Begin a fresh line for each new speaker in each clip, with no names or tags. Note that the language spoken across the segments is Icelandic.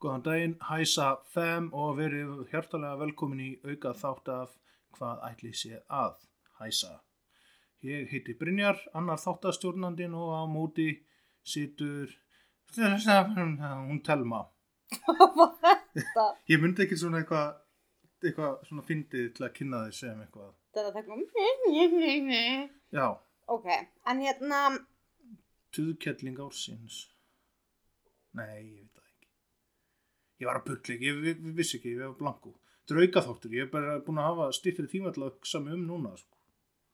Góðan daginn, hæsa fem og verið hjartalega velkomin í auka þátt af hvað ætli sé að hæsa. Ég heiti Brynjar, annar þáttastjórnandinn og á móti situr, hún telma. Ég myndi ekki svona eitthvað, eitthvað svona fyndið til að kynna þér sem eitthvað.
Það er að taka
Já,
Ok, en hérna
tuðkettling ársins. Nei, ég veit það ekki. Ég var að putla ekki, ég, ég, ég vissi ekki, ég var blanku. Þetta er auka þáttur, ég er bara búin að hafa stýttri tíma til að hugsa mig um núna, sko.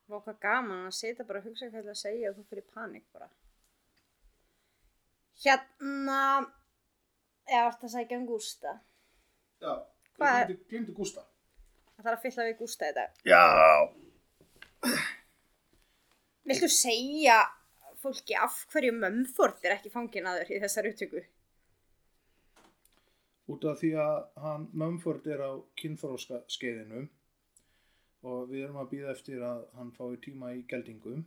Vá hvað gaman að sita bara og hugsa hvað það segja og þú fyrir panik bara Hérna Ég var að sækja um Gústa
Já,
Hvað er-
ég glemdi Gústa.
Það þarf að fylla við Gústa í dag
Já.
Viltu segja fólki af hverju mömfórð er ekki fangin aður í þessar upptöku?
Út af því að hann Mumford er á kynþróska skeiðinu og við erum að býða eftir að hann fái tíma í geldingum.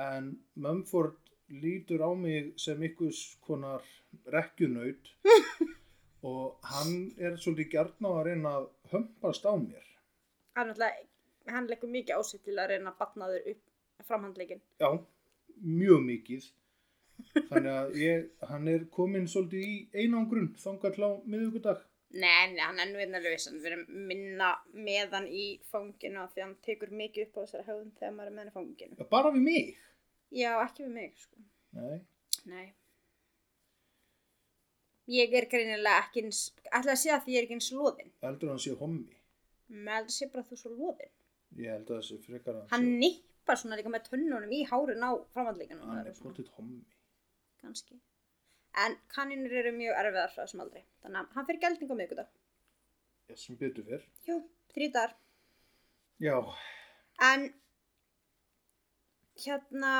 En Mumford lítur á mig sem ykkurs konar rekkjunaut og hann er svolítið gjarn á að reyna að hömpast á mér.
Hann, ætla- hann leggur mikið ásett til að reyna að batna aður upp framhandleikin
Já, mjög mikið. Þannig að ég, hann er komin svolítið í einangrun þangað til á miðvikudag.
Nei, nei, hann er nú einn alveg viss, hann verður minna með hann í fanginu af því að hann tekur mikið upp á þessari höfðum þegar maður er með hann í fanginu.
Já, Bara við mig?
Já, ekki við mig, sko.
Nei.
Nei. Ég er greinilega ekki eins, ætla að segja að því ég er ekki eins loðin.
Ég heldur að hann sé hommi.
Með að sé bara þú svo loðin.
Ég held að það sé frekar að
Hann
sé-
nippar svona líka með tönnunum í hárun á framhandleikanum.
hann er potið hommi.
Ganski. En kaninur eru mjög erfiðar frá þessum aldrei. Þannig að hann fyrir geldingu með ykkur dag.
Já, sem betur fyrr.
Jú, þrítar.
Já,
En hérna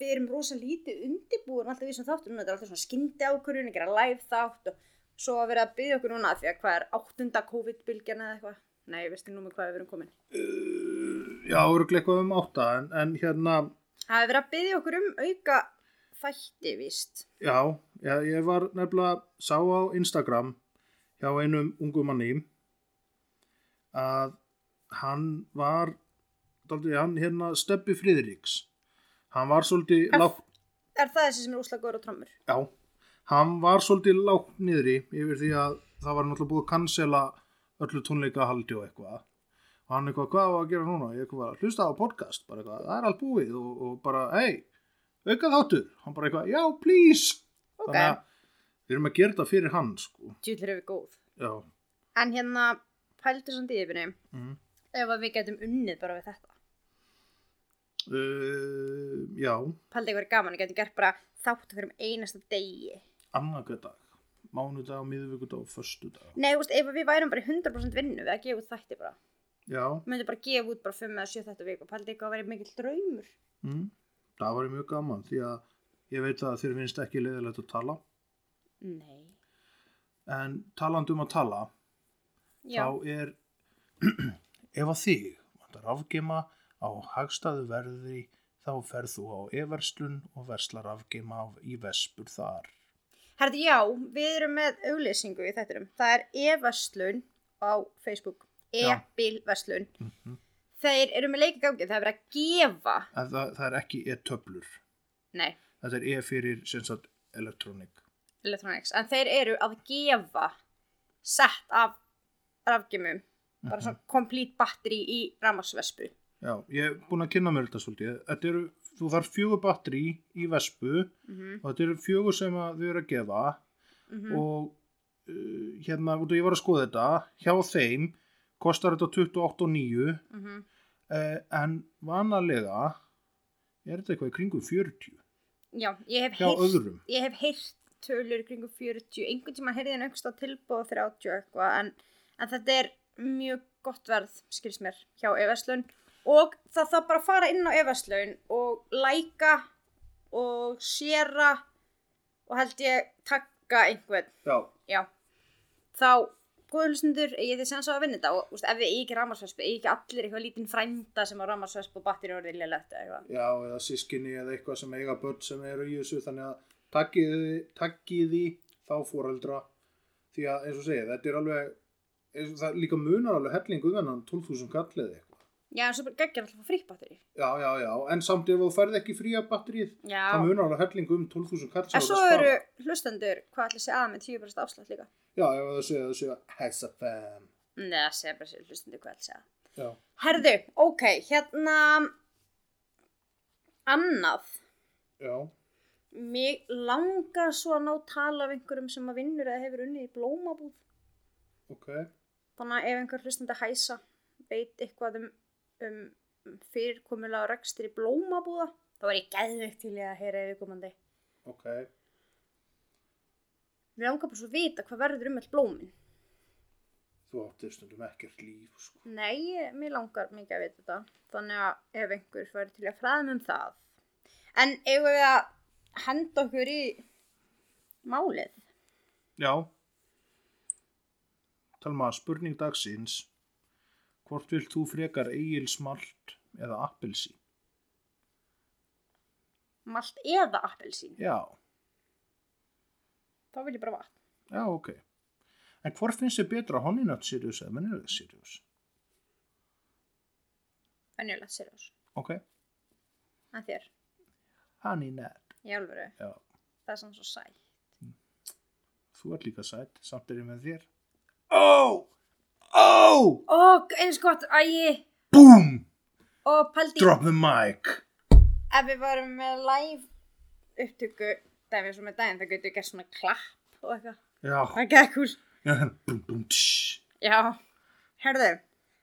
við erum rosa lítið undirbúin alltaf við sem þáttum núna, þetta er alltaf svona skyndi ákvörðun að gera live þátt og svo að vera að byggja okkur núna af því að hvað er áttunda COVID-bylgjan eða eitthvað Nei, ég veist ekki nú með hvað við erum komin
Eh, já, eru eitthvað um átta, en, en hérna,
Það er verið að byggja okkur um auka þætti víst
já, já, ég var nefnilega, sá á Instagram hjá einum ungum manni að hann var, daldið, hann hérna Steppi Friðriks, hann var svolítið
F.
lágt,
Er það þessi sem er úslagur og trommur?
já, hann var svolítið lágt niðri yfir því að það var náttúrulega búið að cancela öllu tónleika haldi og eitthvað og hann eitthvað, hvað var að gera núna? Ég eitthvað, hlusta á podcast, bara eitthvað, það er allt búið og, og bara, hei, auka þáttur hann bara eitthvað, já, please
Ok.
þannig að við erum að gera þetta fyrir hann sko,
Djúlir er við góð
já,
En hérna, pældur samt í yfirni
Mhm.
ef að við getum unnið bara við þetta
uh, já
Pældur ykkur gaman, við getum gert bara þátt okkur um einasta degi
annaðkvæð dag, mánudag, miðvikudag og föstudag,
Nei, þú veist, ef við værum bara í 100% vinnu við að gefa út þætti bara.
já
Við myndum bara gefa út bara 5 eða 7 þætti á viku. Pældi eitthvað að vera mikill draumur.
mm. það var mjög gaman því að ég veit að þér finnst ekki leiðilegt að tala
Nei.
En talandi um að tala,
Já,
þá er, ef að þig vantar afgema á hagstæðu verði, þá ferð þú á e-verslun og verslar afgema af í vespur þar.
herði, já, við erum með auglýsingu í þættinum. Það er e-verslun á Facebook.
Já. Mhm.
E-bílverslun. Þeir eru með leikigangi, það er verið að gefa.
En það, það er ekki e-töflur,
Nei,
þetta er e fyrir sem sagt elektrónik.
electronics. En þeir eru að gefa sett af rafgjumum. Bara svona complete battery í ramarsvespu.
Mhm. Já, ég er búin að kynna mér þetta svolítið. Þetta eru, þú þarf fjögur batteri í vespu
Mhm,
og þetta eru fjögur sem að þau eru að gefa og uh, hérna, út og ég var að skoða þetta, hjá þeim kostar þetta 28,9
Mm
eh, uh, en vanalega er þetta eitthvað í kringum 40.
Já, ég hef
hjá
heyrt,
öðrum.
ég hef heyrt tölur kringum 40, einhvern tíma heyrði hann einhverstað tilbúð á 30 og eitthvað, en, en þetta er mjög gott verð, skils mér, hjá Everslun og það þarf bara að fara inn á Everslun og læka og séra og held ég takka einhvern,
Já,
já, þá góðlustundur, ég þið sens á að vinna þetta og úst, ef við eigi ekki ramarsvespu, eigi ekki allir eitthvað lítinn frænda sem á ramarsvespu og batteri orðið lélegt eða eitthvað.
já, eða sískinni eða eitthvað sem eiga börn sem eru í þessu þannig að takkiði, takkiði þá fóreldra því að eins og segja þetta er alveg eins og það líka munar alveg hellingu þennan 12.000 kall eða eitthvað.
Já, en svo bara geggjum alltaf frí batteri.
Já, já, já, en samt ef þú færð ekki fría batterið
Já.
það munar alveg hellingu um 12.000 kall sem
En
þú
svo
ert að spara.
eru hlustendur, hvað ætli sé að með 10% afslátt líka?
Já, ef það segja, það segja, hessa fem.
Nei, það segja bara sér hlustendur hvað ætli sé að.
Já,
Herðu, ok, hérna, annað,
já,
mig langar svo að ná tala af einhverjum sem að vinnur eða hefur unnið í blómabúð.
ok,
Þannig að ef einhver hlustandi hæsa veit eitthvað um, um fyrirkomulega rekstir í blómabúða, þá er ég geðveikt til í að heyra yfirkomandi.
ok,
Mér langar bara svo að vita hvað verður um all blómin.
þú áttir stundum ekkert líf, sko.
Nei, ég- mér langar mikið að vita þetta. Þannig að ef einhver væri til að fræða um það. En eigum við að henda okkur í málið?
Já. Talma, spurning dagsins, hvort vilt þú frekar eigilsmalt eða appelsín?
Malt eða appelsín?
Já,
Þá vil ég bara vatn.
já, ok. En hvort finnst þið betra honinat sirius eða mennileg sirius?
Venjulegt, seriós.
Ok,
En þér,
honinat,
í alvöru,
já,
það er sann svo sæl.
þú ert líka sætt, samt er ég með þér. Ó, ó,
Ó, eins gott, ægi,
búm,
og paldi,
drop the mic.
ef við varum með live upptöku, dæmi svo með daginn, það getur gert svona klapp og eitthvað.
Já,
Það er ekki ekkert.
já, búm, búm, tss,
Já, herðu,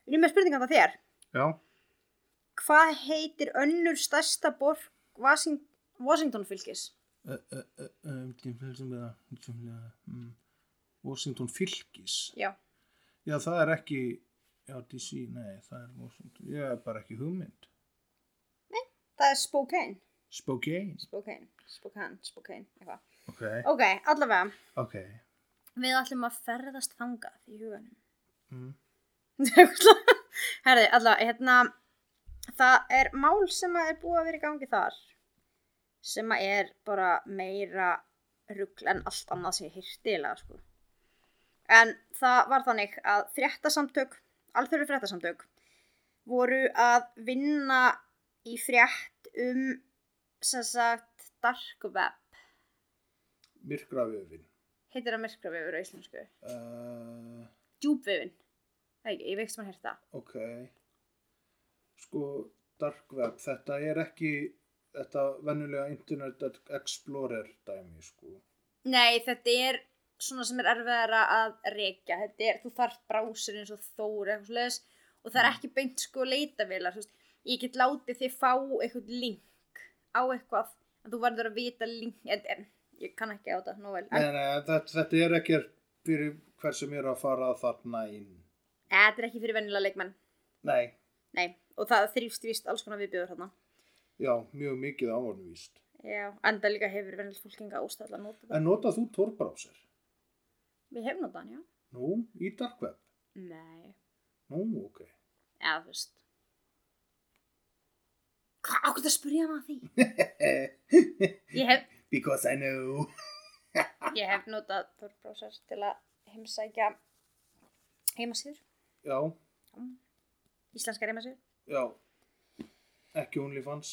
ég er með spurningan það þér.
já.
Hvað heitir önnur stærsta borg Wasing Washington fylgis?
Mm. Washington fylgis
Já.
já það er ekki já DC, nei það er Washington ég er bara ekki hugmynd
Það er Spokane.
Spokane
Spokane, Spokane, Spokane, eitthvað.
ok,
Ok, allavega.
ok
Við ætlum að ferðast þangað í huganum.
mm.
Herði, allavega, hérna, það er mál sem að er búið að vera í gangi þar. Sem að er bara meira rugl en allt annað sem ég hirtilega, sko. En það var þannig að fréttasamtök, alþjóðlega fréttasamtök, voru að vinna í frétt um, sem sagt, dark web.
myrkravefin
Heitir það myrkravefur á íslensku?
uh,
Djúbvefin. Það er ekki, ég veikst maður hérta.
ok sko dark web þetta er ekki þetta vennulega internet explorer dæmi sko
Nei, þetta er svona sem er erfiðara að reykja. Þetta er, þú þarf brásir eins og þór eitthvað slags og það er ekki beint sko leitavélar. þú veist. Ég get látið þið fá eitthvað link á eitthvað en þú verður að vita link. En, en, ég kann ekki á þetta, nú vel. En,
nei, nei, þetta, þetta er ekki fyrir hver sem er að fara þarna inn
Nei, þetta er ekki fyrir venjulega leikmenn.
nei
Nei, og það þrýfst víst alls konar viðbjöður hérna.
Já, mjög mikið ávarnu víst.
Já, enda líka hefur venjulegt fólk enga ástæðla að nota það.
En notað þú Tor-browser?
Við hefum notað hann, já.
Nú, í dark web?
Nei,
Nú, ok.
eða þú veist. Hvað ákveð að spurja maður því? Ég hef,
Because I know.
Ég hef notað Tor-browser til að heimsækja heimasýður,
Já,
íslenskar heimasýður.
já. Ekki OnlyFans?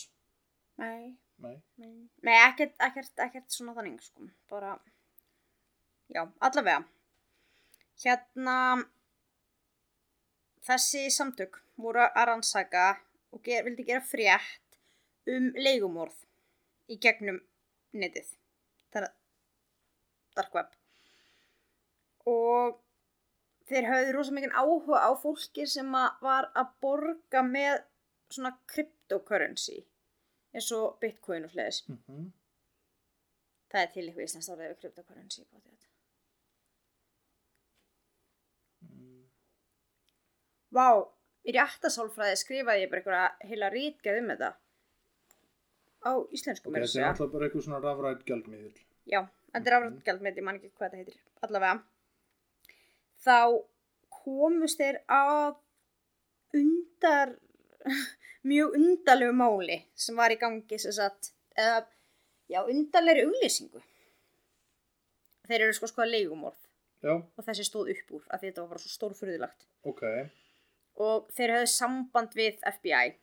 Nei.
Nei.
Nei, Nei ekkert, ekkert, ekkert svona þannig, sko. Bara, já, allavega. Hérna, þessi samtök voru að rannsaka og ger, vildi gera frétt um leigumorð í gegnum netið. Það er dark web. Og þeir höfðu rosa mikinn áhuga á fólki sem að var að borga með svona cryptocurrency eins og bitcoin og fleðis
Mm -hmm.
Það er til eitthvað íslenskt orðið við kryptokörnsi bóti þetta. Vá, í réttasálfræði skrifaði ég bara einhverja heila rítgerð um þetta. Á íslensku
Þetta
meira að
er
segja.
alltaf bara eitthvað svona rafrætt gjaldmiðil.
Já, þetta er afrætt gjaldmiðl, ég man ekki hvað þetta heitir, allavega. Þá komust þeir að undar, mjög undarlegu máli sem var í gangi sem sagt, eða, já, undarlegri auglýsingu. Þeir eru sko sko að leigumorð
Já,
og þessi stóð upp úr af því þetta var bara svo stórfurðulagt.
ok.
Og þeir höfðu samband við FBI.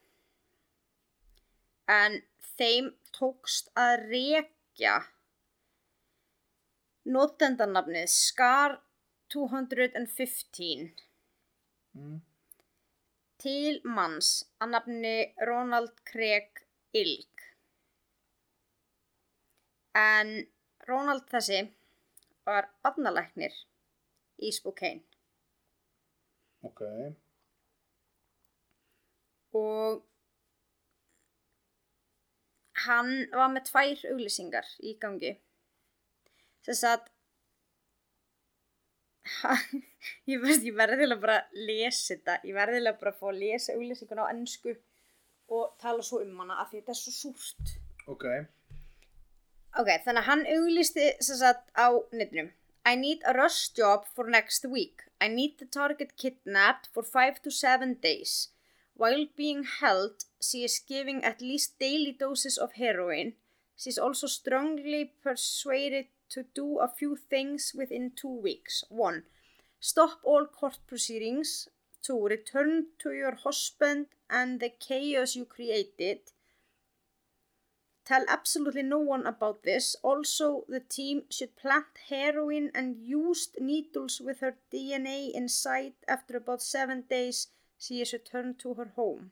En þeim tókst að rekja notendanafnið SCAR 215
Mm.
til manns að nafni Ronald Craig Ilg. En Ronald þessi var barnalæknir í Spokane
Ok.
og hann var með tvær auglýsingar í gangi þess að ég, veist, ég verðilega bara að lesa þetta ég verðilega bara að fá að lesa auglýsinguna á ennsku og tala svo um hana af því þetta er svo súrt
Ok.
Ok, þannig að hann auglýsti sem sagt á netnum. I need a rush job for next week. I need the target kidnapped for five to seven days. While being held, she is giving at least daily doses of heroin. She is also strongly persuaded to do a few things within two weeks. One, stop all court proceedings. Two, return to your husband and the chaos you created. Tell absolutely no one about this. Also, the team should plant heroin and used needles with her DNA inside. After about seven days, she is returned to her home.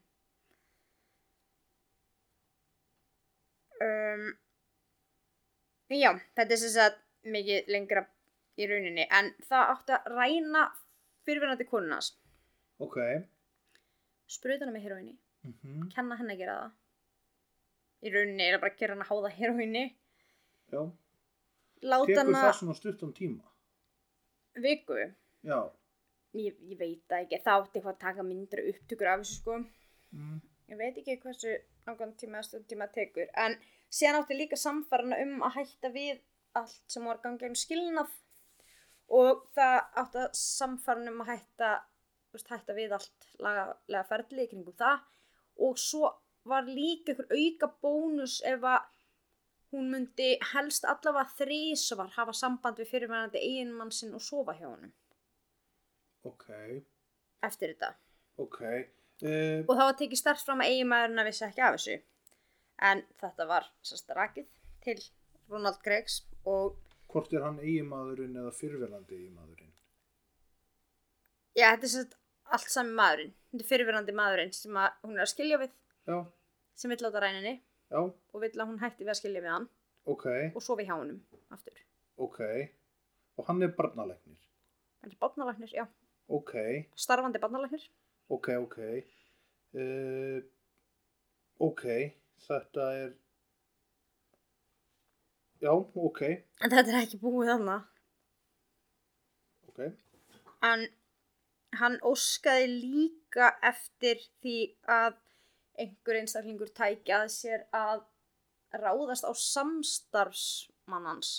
Um, já, þetta er sem sagt mikið lengra í rauninni, en það átti að ræna fyrirverandi konunans,
Ok.
sprutana með heroinni,
Mm
kenna henni að gera það. Í rauninni er það bara að gera hann að háða heroinni.
Já.
láta
Tekur
hana
það svona stuttan tíma?
viku
Já.
ég, ég veit það ekki, það átti eitthvað að taka myndir og upptökur af þessu sko
Mm.
ég veit ekki hversu langan tíma að stund tíma tekur en síðan átti líka samfarana um að hætta við allt sem var gangið um skilnað og það átti að samfarana um að hætta þú veist, hætta við allt lagalega ferli í kringum það og svo var líka ykkur auka bónus ef að hún myndi helst allavega þrísvar hafa samband við fyrirverandi eiginmann sinn og sofa hjá honum
Ok.
eftir þetta
Ok. Uh,
og það var tekið start fram að eiginmaðurinn að vissi ekki af þessu en þetta var sérst rakið til Ronald Greggs og
hvort er hann eigimadurinn eða fyrverandi eigimadurinn?
já, þetta er sérst allt sami maðurinn þetta er fyrirverandi maðurinn sem að, hún er að skilja við
Já.
sem vill láta ræninni
Já.
og vill að hún hætti við að skilja við hann
Ok.
og sofi hjá honum aftur
Ok. Og hann er barnalegnir?
hann er barnalæknir, já,
Ok.
starfandi barnalæknir
Ok, ok. Uh, ok. Þetta er... Já, ok.
en þetta er ekki búið annað
Ok.
en hann óskaði líka eftir því að einhver einstaklingur tæki að sér að ráðast á samstarfsmannans.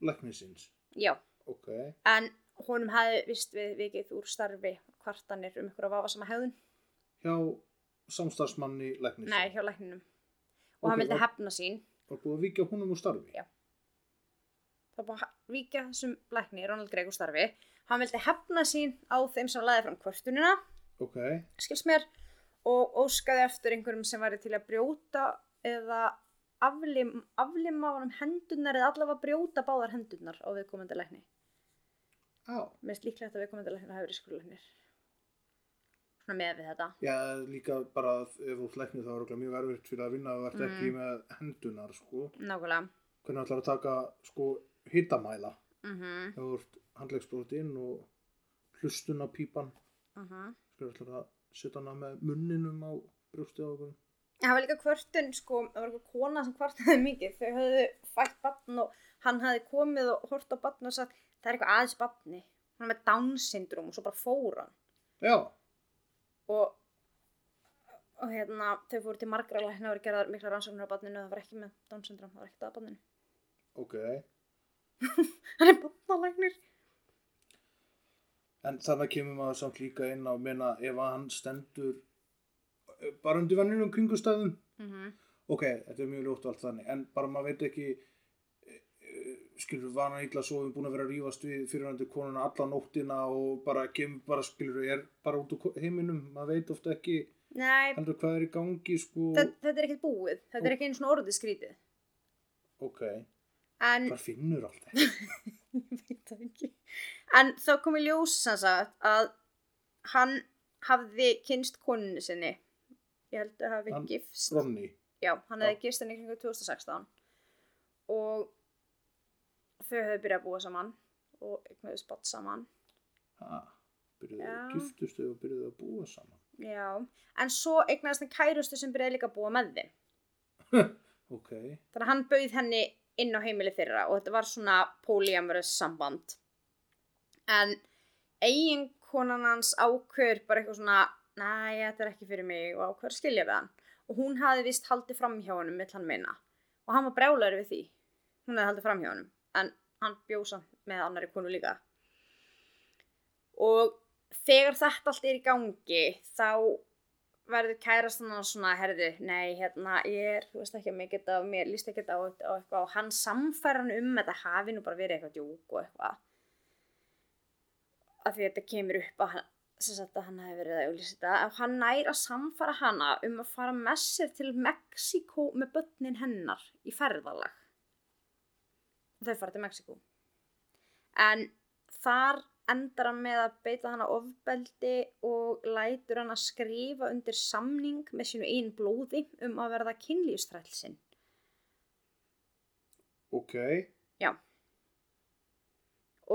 Læknisins.
Já,
Ok.
en honum hefði vist við vikið úr starfi kvartanir um ykkur að vafa sama hegðun.
Hjá samstarfsmanni læknisins.
Nei, hjá lækninum. Og
Ok,
hann vildi
og-
hefna sín.
Og búið að vikja húnum úr starfi?
Já. Það var búið að víkja þessum lækni, Ronald Gregg, úr starfi. Hann vildi hefna sín á þeim sem laði fram kvartunina.
Ok.
skils mér og óskaði eftir einhverjum sem væri til að brjóta eða aflim, aflima honum hendunar eða allavega brjóta báðar hendunar á viðkomandi lækni.
Já.
Mér finnst líklegt að viðkomandi lækni hafi verið skurlæknir. Svona með við þetta.
Já, líka bara að ef þú læknir þá er okkur mjög erfitt fyrir að vinna og ert
Mm.
ekki með hendunar, sko.
Nákvæmlega.
Hvernig ætlar að taka, sko, hittamæla?
Mhm, mhm.
Ef þú ert handlegsbrotinn og hlustunapípan,
mhm.
sko, ætlar að setja hana með munninum á brjósti á okkur.
En Það var líka kvörtun, sko, það var eitthvað kona sem kvartaði mikið. Þau höfðu fætt barn barn og hann hafði komið og hort á barn og sagt það er eitthvað aðeins barni hann er með Down syndrom og svo bara fór hann
já,
og, og hérna þau fóru til margra lækna og voru gerðar mikla rannsóknir á barninu það var ekki með Down syndrom, það var ekkert að barninu
ok
hann er barnalæknir
en þannig kemur maður samt líka inn á minna ef að hann stendur eh, bara undir vennunum kringustæðum
mm -hmm.
ok, þetta er mjög ljótt og allt þannig en bara maður veit ekki eh, eh, skilur var hann illa svo við búin að vera að rífast við fyrirhandi konuna alla nóttina og bara kemur bara skilur er bara út úr ko- heiminum, maður veit ofta ekki
nei,
heldur hvað er í gangi sko
þetta, þetta er ekkert búið þetta er ekki einu svona orðið skrítið
ok,
en
hvað finnur allt þetta
ég veit það ekki en þá kom í ljós sem sagt að hann hafði kynst konunni sinni ég held að hafi
Hann-
gifst
Ronny,
já, hann hefði
Já.
gifst henni kringu 2016 og þau hefðu byrjað að búa saman og eignuðu spatt saman
ha, byrjuðu
Já.
giftust og byrjuðu að búa saman
já, en svo eignaðist hann kærustu sem byrjaði líka að búa með þeim
ok,
þannig að hann bauð henni inn á heimili þeirra og þetta var svona polyamorous samband en eiginkonan hans ákveður bara eitthvað svona næ, þetta er ekki fyrir mig og ákveður að skilja við hann og hún hafði vist haldið fram hjá honum vill hann minna og hann var brjálæri við því hún hafði haldið fram hjá honum en hann bjóð samt með annari konu líka og þegar þetta allt er í gangi þá verður kærastan hans svona, herðu, nei, hérna, ég er, þú veist ekki að mér geta, mér líst ekki á, á eitthvað og hann samfæra hann um að þetta hafi nú bara verið eitthvað djúk og eitthvað. Af því þetta kemur upp að hann, sem sagt að hann hefur verið að auðlýsa þetta, að hann nær að samfæra hana um að fara með sér til Mexíkó með börnin hennar í ferðalag. Þau fara til Mexíkó. En þar endar hann með að beita hann á ofbeldi og lætur hann að skrifa undir samning með sínu einn blóði um að verða kynlýfstrælsinn.
ok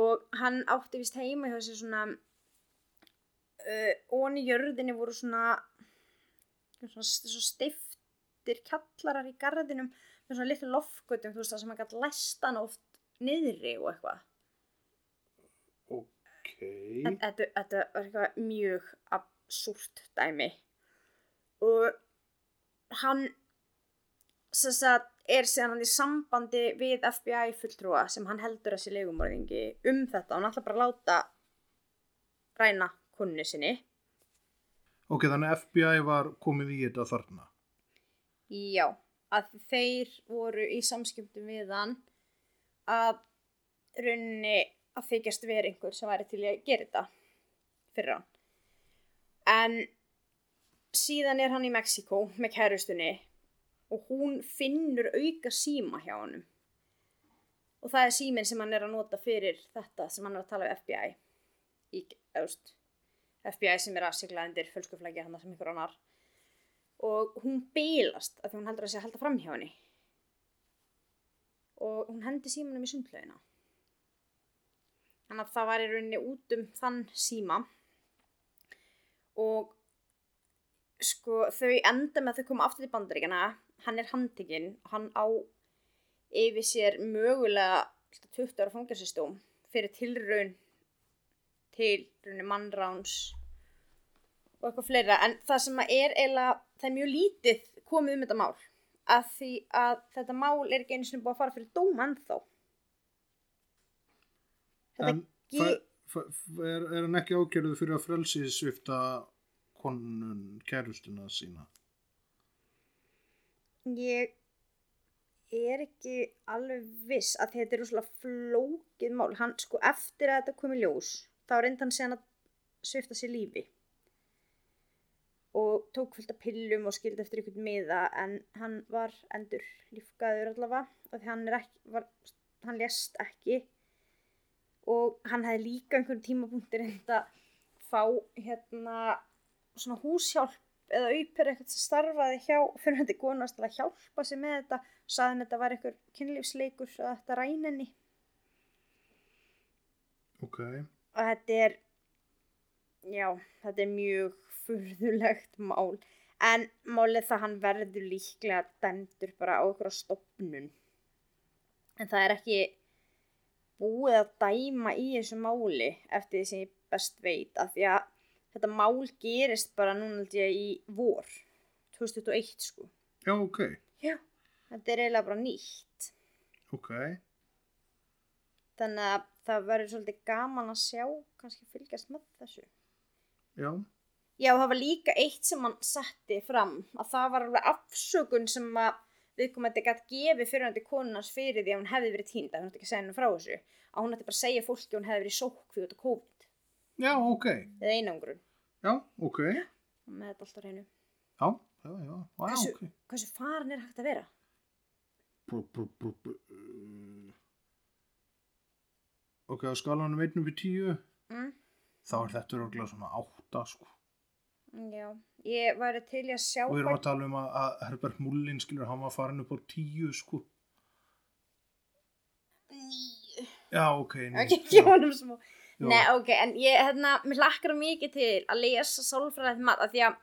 Og hann átti vist heima hjá sér svona, uh, ón í jörðinni voru svona, svona, svona stiftir kjallarar í gardinum með svona litlu loftgötum, þú veist það sem hann gætt læstan oft niðri og eitthvað.
ok,
En þetta, þetta var eitthvað mjög absúrt dæmi og hann sem sagt er síðan hann í sambandi við FBI fulltrúa sem hann heldur að sé legumorðingi um þetta og hann ætla bara að láta ræna kunni sinni
ok, þannig að FBI var komið í þetta þarna
Já, að þeir voru í samskiptum við hann að runni að þykjast vera einhver sem væri til í að gera þetta fyrir hann. En síðan er hann í Mexíkó með kærustunni og hún finnur auka síma hjá honum. Og það er síminn sem hann er að nota fyrir þetta sem hann er að tala við FBI. Í, eðust, FBI sem er að sigla undir fölskuflæki hann sem ykkur annar og hún bílast af því hún heldur að sé að halda fram hjá henni og hún hendi símanum í sundlaugina þannig að það var í rauninni út um þann síma og sko þau enda með að þau koma aftur til bandaríkjana hann er handtekinn hann á yfir sér mögulega 20 ára fangelsistóm fyrir tilraun til rauninni mannráns og eitthvað fleira en það sem að er eiginlega, það er mjög lítið komið um þetta mál að því að þetta mál er ekki einu sinni búið að fara fyrir dóma ennþá Þetta
en
ge-
fæ, fæ, fæ- er, er hann ekki ákjörðu fyrir að frelsi svifta konun kærustuna sína
ég er ekki alveg viss að þetta er úrslega flókið mál hann sko eftir að þetta kom í ljós þá reyndi hann sen að svifta sér lífi og tók fullt af pillum og skildi eftir ykkur miða en hann var endur lífgaður allavega og því hann er ekki var, hann lést ekki og hann hefði líka einhverjum tímapunktir reynd að fá hérna svona húshjálp eða auper eitthvað sem starfaði hjá fyrir þetta konast til að hjálpa sér með þetta saði hann þetta var einhver kynlífsleikur að þetta ræn henni
ok,
og þetta er já, þetta er mjög furðulegt mál en málið það hann verður líklega dæmdur bara á einhverja stofnun en það er ekki búið að dæma í þessu máli eftir því sem ég best veit af því að þetta mál gerist bara núna held ég í vor 2021 sko
Já, ok,
Já. þetta er eiginlega bara nýtt
ok.
þannig að það verður svolítið gaman að sjá kannski fylgjast með þessu
Já,
Já, það var líka eitt sem hann setti fram að það var alveg afsökun sem að viðkomandi gætt gefi fyrirhandi konunars fyrir því að hún hefði verið týnda hún ætti ekki að segja henni frá þessu að hún ætti bara að segja fólki að hún hefði verið í sókk fyrir þetta COVID
já, ok.
eða einangrun
Já, ok.
Og með þetta alltaf reynu
Já, já, já, já,
Hversu-
ok.
Hversu farin er hægt að vera?
Brú, brú, brú, brú. uh. Ok, á skalanum 1 upp í 10,
Mm?
þá er þetta örgulega svona 8, sko.
Já, ég væri til í að sjá
Og við erum
hvað-
að tala um að, að Herbert Mullin, skilur, hann var farin upp á 10, sko.
Níu.
Já, ok. nei,
Ekki
já,
ekki honum smá
já.
Nei, ok, en ég, hérna, mér lakkar mikið til að lesa sálfræðið mat af því að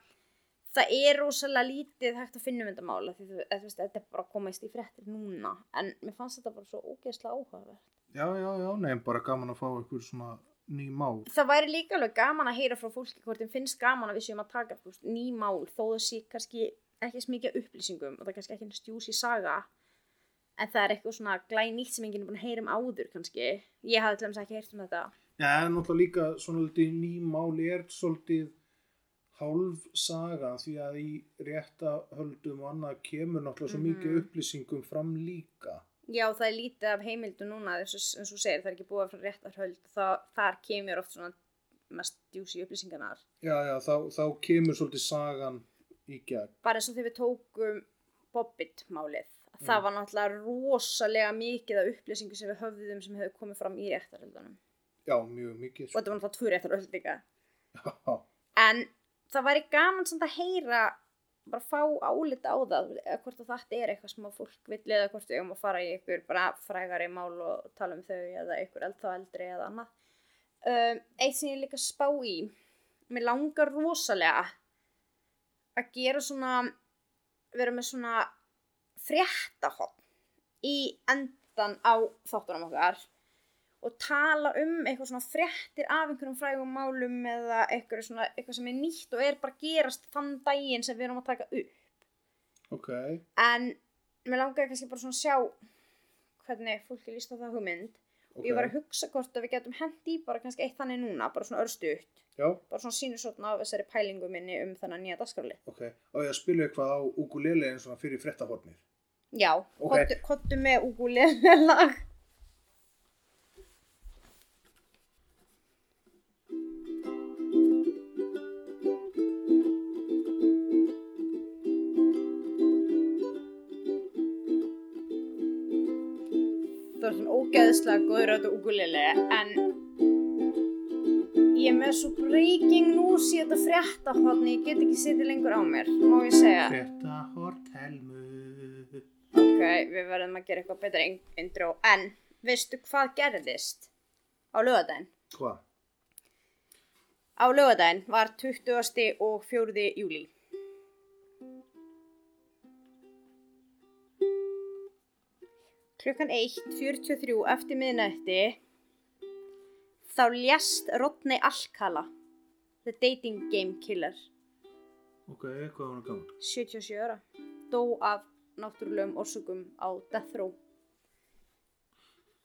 það er rosalega lítið hægt að finna um þetta mála því þú eða þú veist, þetta er bara að komast í fréttir núna en mér fannst þetta bara svo ógeðslega áhugavert
já, já, já, nei, bara gaman að fá ykkur svona ný mál.
Það væri líka alveg gaman að heyra frá fólki hvort þeim finnst gaman að við séum að taka þú veist, ný mál þó það sé kannski ekki smikið upplýsingum og það er kannski ekki stjúsi saga en það er eitthvað svona glænýtt sem enginn er búin að heyra um áður kannski ég hafði til dæmis ekki heyrt um þetta
Já, en náttúrulega líka svona litið ný mál er svolítið hálf saga því að í rétta höldum og annað kemur náttúrulega svo
Mhm.
mikið upplýsingum fram líka.
Já, það er lítið af heimildu núna eins og, eins og þú segir, það er ekki búið frá réttarhöld það, þar kemur oft svona mest djúsi upplýsingarnar
Já, já, þá, þá kemur svolítið sagan í gegn.
bara eins og þegar við tókum Bobbit-málið það
Mm.
var náttúrulega rosalega mikið af upplýsingu sem við höfðum sem hefur komið fram í réttarhöldunum og
Já, mjög mikið. sko.
þetta var náttúrulega tvö réttarhöld líka
Já,
en það væri gaman samt að heyra bara fá álit á það eða hvort að þetta er eitthvað sem að fólk vill eða hvort við um að fara í ykkur bara frægari mál og tala um þau eða ykkur eld þá eldri eða annað um, eitt sem ég er líka að spá í mér langar rosalega að gera svona vera með svona fréttahotn í endan á þáttunum okkar og tala um eitthvað svona fréttir af einhverjum frægum málum eða eitthvað, svona, eitthvað sem er nýtt og er bara að gerast þann daginn sem við erum að taka upp.
ok.
En mér langaði kannski bara svona að sjá hvernig fólki líst á það hugmynd.
ok.
Okay. Ég var að hugsa hvort að við getum hendi bara kannski eitt þannig núna, bara svona örstuðt.
Já,
Bara svona sínur svona af þessari pælingu minni um þennan nýja dagskrali.
ok. Og ég að spila eitthvað á ukulele eins og fyrir frettahornir.
Já,
Ok.
okay. kottu með úgulega lag. Það er svona ógeðslega góður á þetta úgulega en ég er með svo breaking news í þetta fréttahotni, ég get ekki setið lengur á mér, má ég segja.
Frettahorn helmu.
Ok, við verðum að gera eitthvað betra in- intro En, veistu hvað gerðist? Á lögadaginn
Hvað?
Á lögadaginn var 20. og 4. júli Klukkan 1.43 eftir miðnætti Þá lést Rodney Alcala The Dating Game Killer
Ok, hvað var hann gaman?
77 ára Dó af náttúrulegum orsökum á Death Row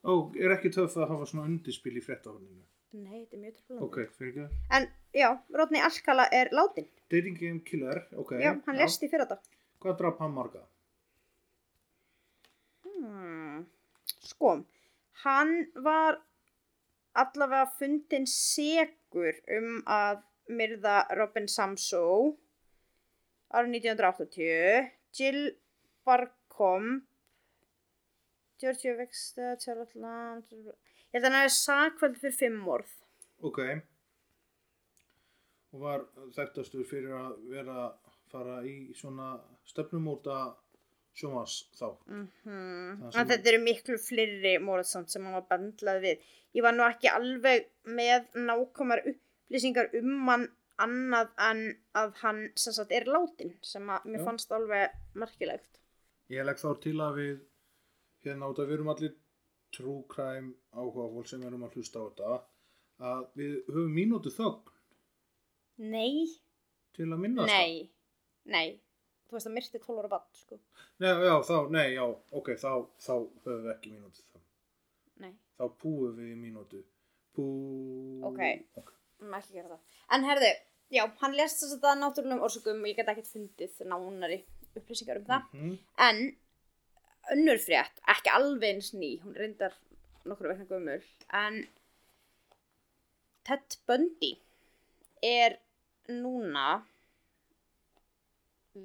Ó, er ekki töff að hafa svona undirspil í frettahorninu?
Nei, þetta er mjög trúlega
Ok, fyrir ekki það.
En já, Rodney Alcala er látin.
Dating Game Killer, ok.
já, hann lest í fyrir þetta.
Hvað draf hann marga?
Hmm. Sko, hann var allavega fundin segur um að myrða Robin Samso árið 1980, Jill Barcom, Georgia Vexta, Charlotte Land, ég held að hann er sakvöld fyrir fimm orð.
Ok. Og var þekktastur fyrir að vera fara í svona stefnumóta sjómas þá.
Mm
Það sem-
En þetta eru miklu fleiri Morrison sem hann var bendlað við. Ég var nú ekki alveg með nákvæmar upplýsingar um hann annað en að hann sem sagt er látin sem að mér
Já.
fannst alveg merkilegt.
Ég legg þá til að við hérna út að við erum allir true crime áhugafól sem erum að hlusta á þetta að við höfum mínútu þögn
Nei,
til að minna
nei, nei. Þú veist að myrti 12 ára bann, sko.
Nei, já, þá, nei, já, ok, þá, þá höfum við ekki mínútu þögn.
Nei,
Þá púum við í mínútu. Pú...
Ok. maður má ekki gera það. En herðu, já, hann lest þess að það náttúrulegum orsökum og ég get ekkert fundið nánari upplýsingar um það.
Mhm.
En önnur frétt, ekki alveg eins ný, hún er reyndar nokkru vegna gömul, en Ted Bundy er núna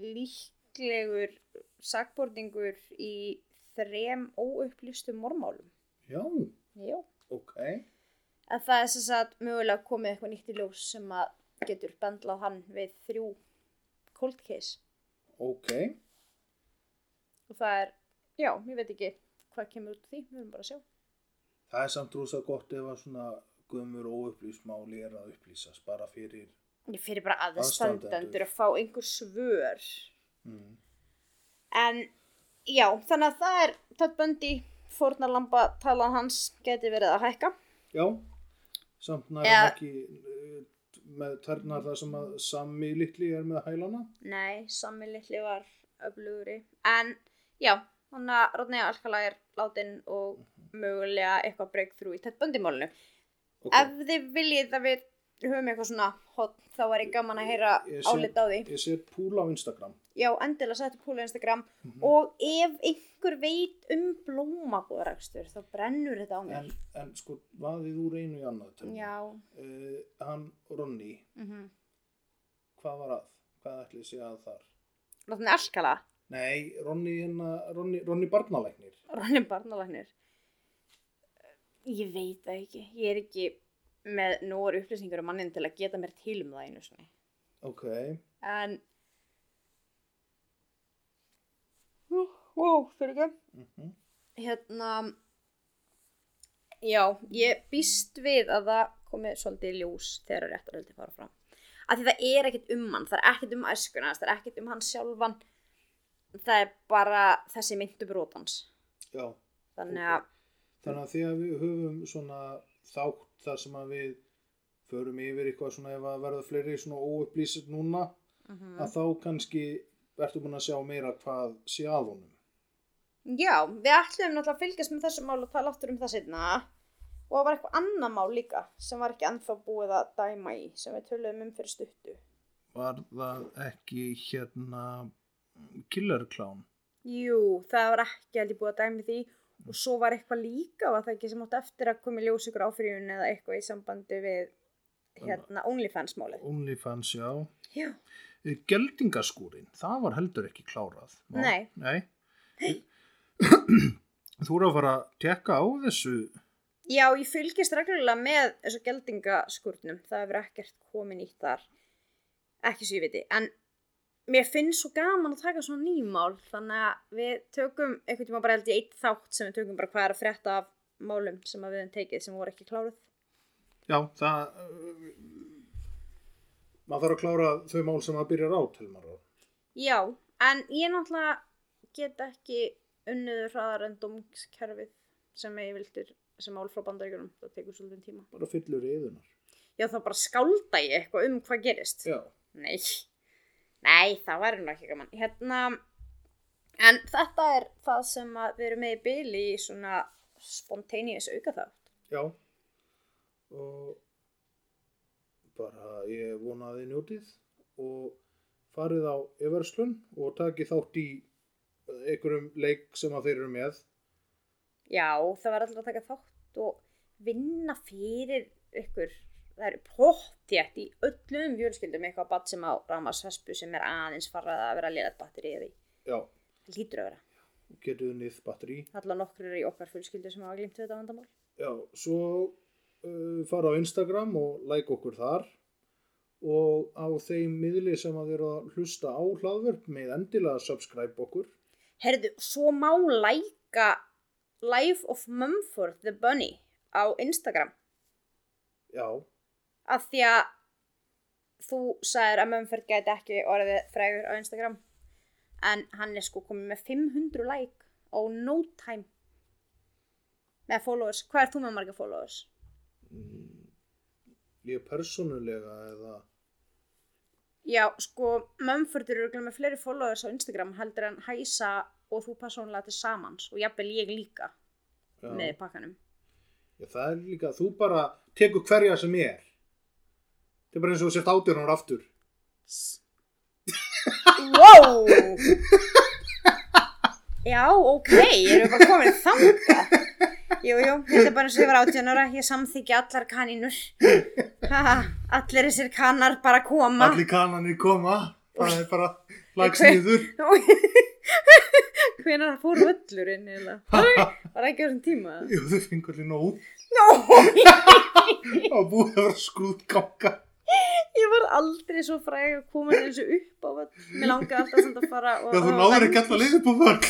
líklegur sakborningur í þrem óupplýstum mormálum.
Já,
Jó.
ok.
En það er sem sagt mögulega komið eitthvað nýtt í ljós sem að getur bendlað hann við þrjú cold case.
Ok.
Og það er, já, ég veit ekki hvað kemur út úr því, við erum bara að sjá.
Það er samt rosa gott ef að svona gömur óupplýst máli er að upplýsast bara fyrir
Ég fyrir bara
Aðstandendur.
aðstandendur að fá einhver svör.
mm.
En já, þannig að það er Ted Bundy, fórnarlamba talan hans geti verið að hækka.
Já, samt nær
Eða-
hann ekki eh, með ternar það sem að Sammi litli er með hælana
Nei, Sammi litli var öflugri. En já, hann að Rodney Alcala er látin og mögulega eitthvað breakthrough í Ted Bundy-málinu.
Ok.
Ef þið viljið að við höfum eitthvað svona hot, þá var ég gaman að heyra
Ég- ég sé-
álit á því.
Ég sé púl á Instagram
Já, endilega sættu púlu Instagram og ef einhver veit um blómabúðarakstur, þá brennur þetta á mér.
en, en sko, vaðið úr einu í annað Telma.
Já,
Eh, Hann, Ronny,
mm -hmm.
hvað var að? Hvað ætli sé að þar?
láttu henni alkala,
Nei, Ronny, hérna, Ronny, Ronny barnalæknir
Ronni Barnalagnir. Ég veit það ekki, ég er ekki með nógar upplýsingar um mannin til að geta mér til um það einu svona.
Ok,
En, Ú, ó, fyrir ekki.
mm
hérna já, ég býst við að það komi svolítið í ljós þegar réttaröldi fara fram af því það er ekkert um hann, það er ekkert um æskuna hans, það er ekkert um hann sjálfan það er bara þessi myndu brotans
já
þannig að,
Þannig að þegar við höfum svona þátt þar sem að við förum yfir eitthvað svona ef að verða fleiri svona óupplýsir núna að þá kannski ertu búin að sjá meira hvað sé að honum.
já, við ætlum náttúrulega að fylgjast með þessu mál og tala áttur um það sinna og það var eitthvað annað mál líka sem var ekki ennþá búið að dæma í sem við töluðum um fyrir stuttu
Var það ekki hérna killer clown?
Jú, það var ekki held ég búið að dæmi því og svo var eitthvað líka var það ekki sem átt eftir að koma í ljós ykkur áfyrirjun eða eitthvað í sambandi við hérna OnlyFans-málið.
Onlyfans, já.
Já,
Geldingaskúrin, það var heldur ekki klárað. Má-
Nei.
Nei. Þú eru að fara að tekka á þessu.
Já ég fylgist reglulega með þessu geldingaskurnum, það hefur ekkert komin í þar, ekki svo ég viti, en mér finnst svo gaman að taka svona nýmál, þannig að við tökum einhvern tíma bara held ég eitt þátt sem við tökum bara hvað er að frétta af málum sem að við höfum tekið sem voru ekki kláruð.
Já, það... Uh, maður þarf að klára þau mál sem maður byrjar á, Telmar.
Já, en ég náttúrulega get ekki unnið hraðar en domskerfið sem ég vildur sem mál frá bandaríkjunum, það tekur svolítið tíma.
Bara fyllur yðunar.
Já, þá bara skálda ég eitthvað um hvað gerist.
Já.
Nei, nei, það væri nú ekki gaman. Hérna, en þetta er það sem að við erum með í byli í svona spontaneous auka þátt.
Já. Og bara ég vona að þið njótið og farið á yfirslun og takið þátt í einhverjum leik sem að þeir eru með.
Já, það var alltaf að taka þátt og vinna fyrir ykkur. Það eru pottjætt í öllum fjölskyldum eitthvað batt sem á rámasvespu sem er aðeins farað að vera að lera batteri eða í.
Já.
Það lítur að vera.
Getið nýð batteri.
Alltaf nokkur eru í okkar fjölskyldu sem hafa glimt við þetta vandamál.
Já, svo uh, fara á Instagram og like okkur þar og á þeim miðli sem að þeir eru að hlusta á hlaðvörp með endilega subscribe okkur.
Herðu, svo má læka Life of Mumford the Bunny á Instagram
Já,
af því að þú sagðir að Mumford gæti ekki orðið frægur á Instagram en hann er sko komið með 500 like á no time Nei, followers, hvað er þú með marga followers?
Mm, Ég persónulega eða
Já, sko, Mumford eru örugglega með fleiri followers á Instagram heldur en hæsa og þú persónulega til samans og jafnvel ég líka
já.
með í pakkanum.
Já, það er líka, þú bara tekur hverja sem er. Það er bara eins og þú sért átjörn ára aftur.
S- Wow! Já, ok, erum við bara komin þanga. Jú, jú, þetta er bara eins og ég var átján ára, ég samþykja allar kanínur. Haha, allir þessir kanar bara koma.
Allir kananir koma, það er bara
Ok.
lagsniður.
Hvenar fór völlurinn eða? Var ekki á þessum tíma?
Jú, þau fengur allir nóg
Nó,
og búið að vera skrúðganga.
ég var aldrei svo fræg að koma þessu upp á völl. Mér langaði alltaf samt að fara og...
Já, þú
og-
náður ekki alltaf liðið på vörg.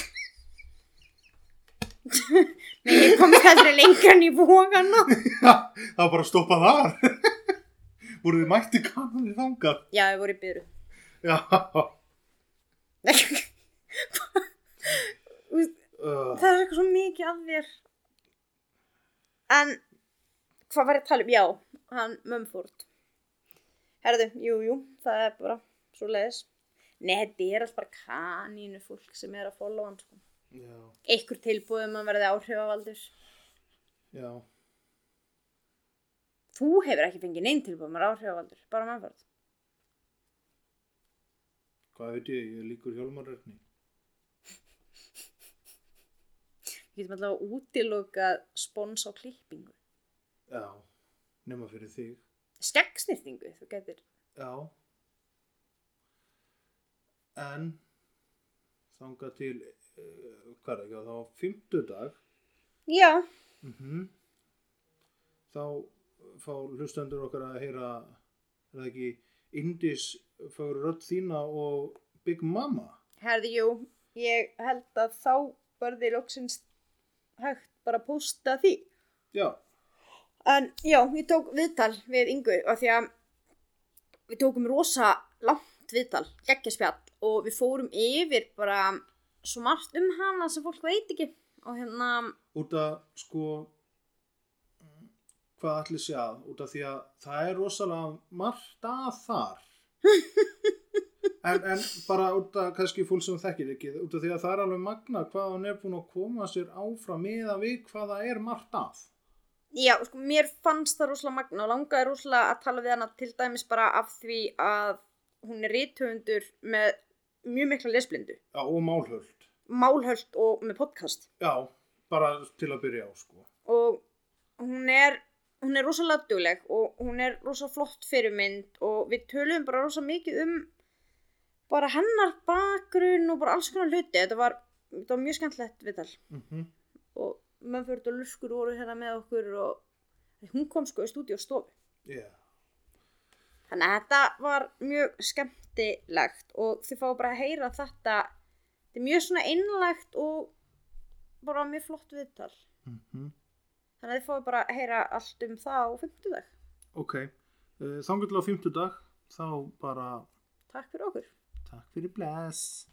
Nei, ég komst aldrei lengra en hérna. í vógana.
það var bara að stoppa þar. Voruð þið mætti kananir þangað.
Já, ég voru í byrju.
Já.
Það
Uh,
er eitthvað svo mikið af þér. En, hvað var ég að tala um? Já, hann Mumford. Herðu, jú, jú, það er bara svo leiðis. Nei, þetta er allt bara kanínu fólk sem er að followa hann, sko.
já,
Ekkur tilbúðum að verði áhrifavaldur.
já.
Þú hefur ekki fengið neinn tilbúðum að verði áhrifavaldur, bara Mumford.
Hvað veit ég, ég er líkur hjálmarörni.
Við getum alltaf útilokað spons á klippingu.
Já, nema fyrir þig.
Skeggsnýrtingu, þú getur.
Já. En þangað til uh, hvað er ekki að þá fimmtudag
Já,
mm þá uh, fá hlustendur okkar að heyra er það ekki Indis fagur rödd þína og Big Mama
Herði, jú, ég held að þá verði loksins hægt bara að posta því.
Já,
En já, ég tók viðtal við Ingu af því að við tókum rosa langt viðtal, geggja spjall og við fórum yfir bara svo margt um hana sem fólk veit ekki og hérna,
út að sko mm, hvað allir sé að út af því að það er rosalega margt að þar en, en bara út af kannski fólk sem þekkir ekki út af því að það er alveg magna hvað hann er búin að koma sér áfram með að við hvað það er margt að
já, sko, mér fannst það rosalega magna og langaði rosalega að tala við hana til dæmis bara af því að hún er rithöfundur með mjög mikla lesblindu,
Já, og málhöld
málhöld og með podcast.
já, bara til að byrja á sko
og hún er hún er rosalega dugleg og hún er rosalega flott fyrirmynd og við töluðum bara rosalega mikið um bara hennar bakgrunn og bara alls konar hluti þetta var, þetta var mjög skemmtilegt viðtal
mm
og Mönnfjörð og Lurkur voru hérna með okkur og hún kom sko í stúdíu og stofu
yeah.
þannig að þetta var mjög skemmtilegt og þið fá bara að heyra þetta þetta er mjög svona einlægt og bara mjög flott viðtal
mm
þannig að þið fáið bara að heyra allt um það á 50 dag
ok, Eh, uh, þangur til á fimmtudag þá bara
Takk fyrir okkur.
takk fyrir bless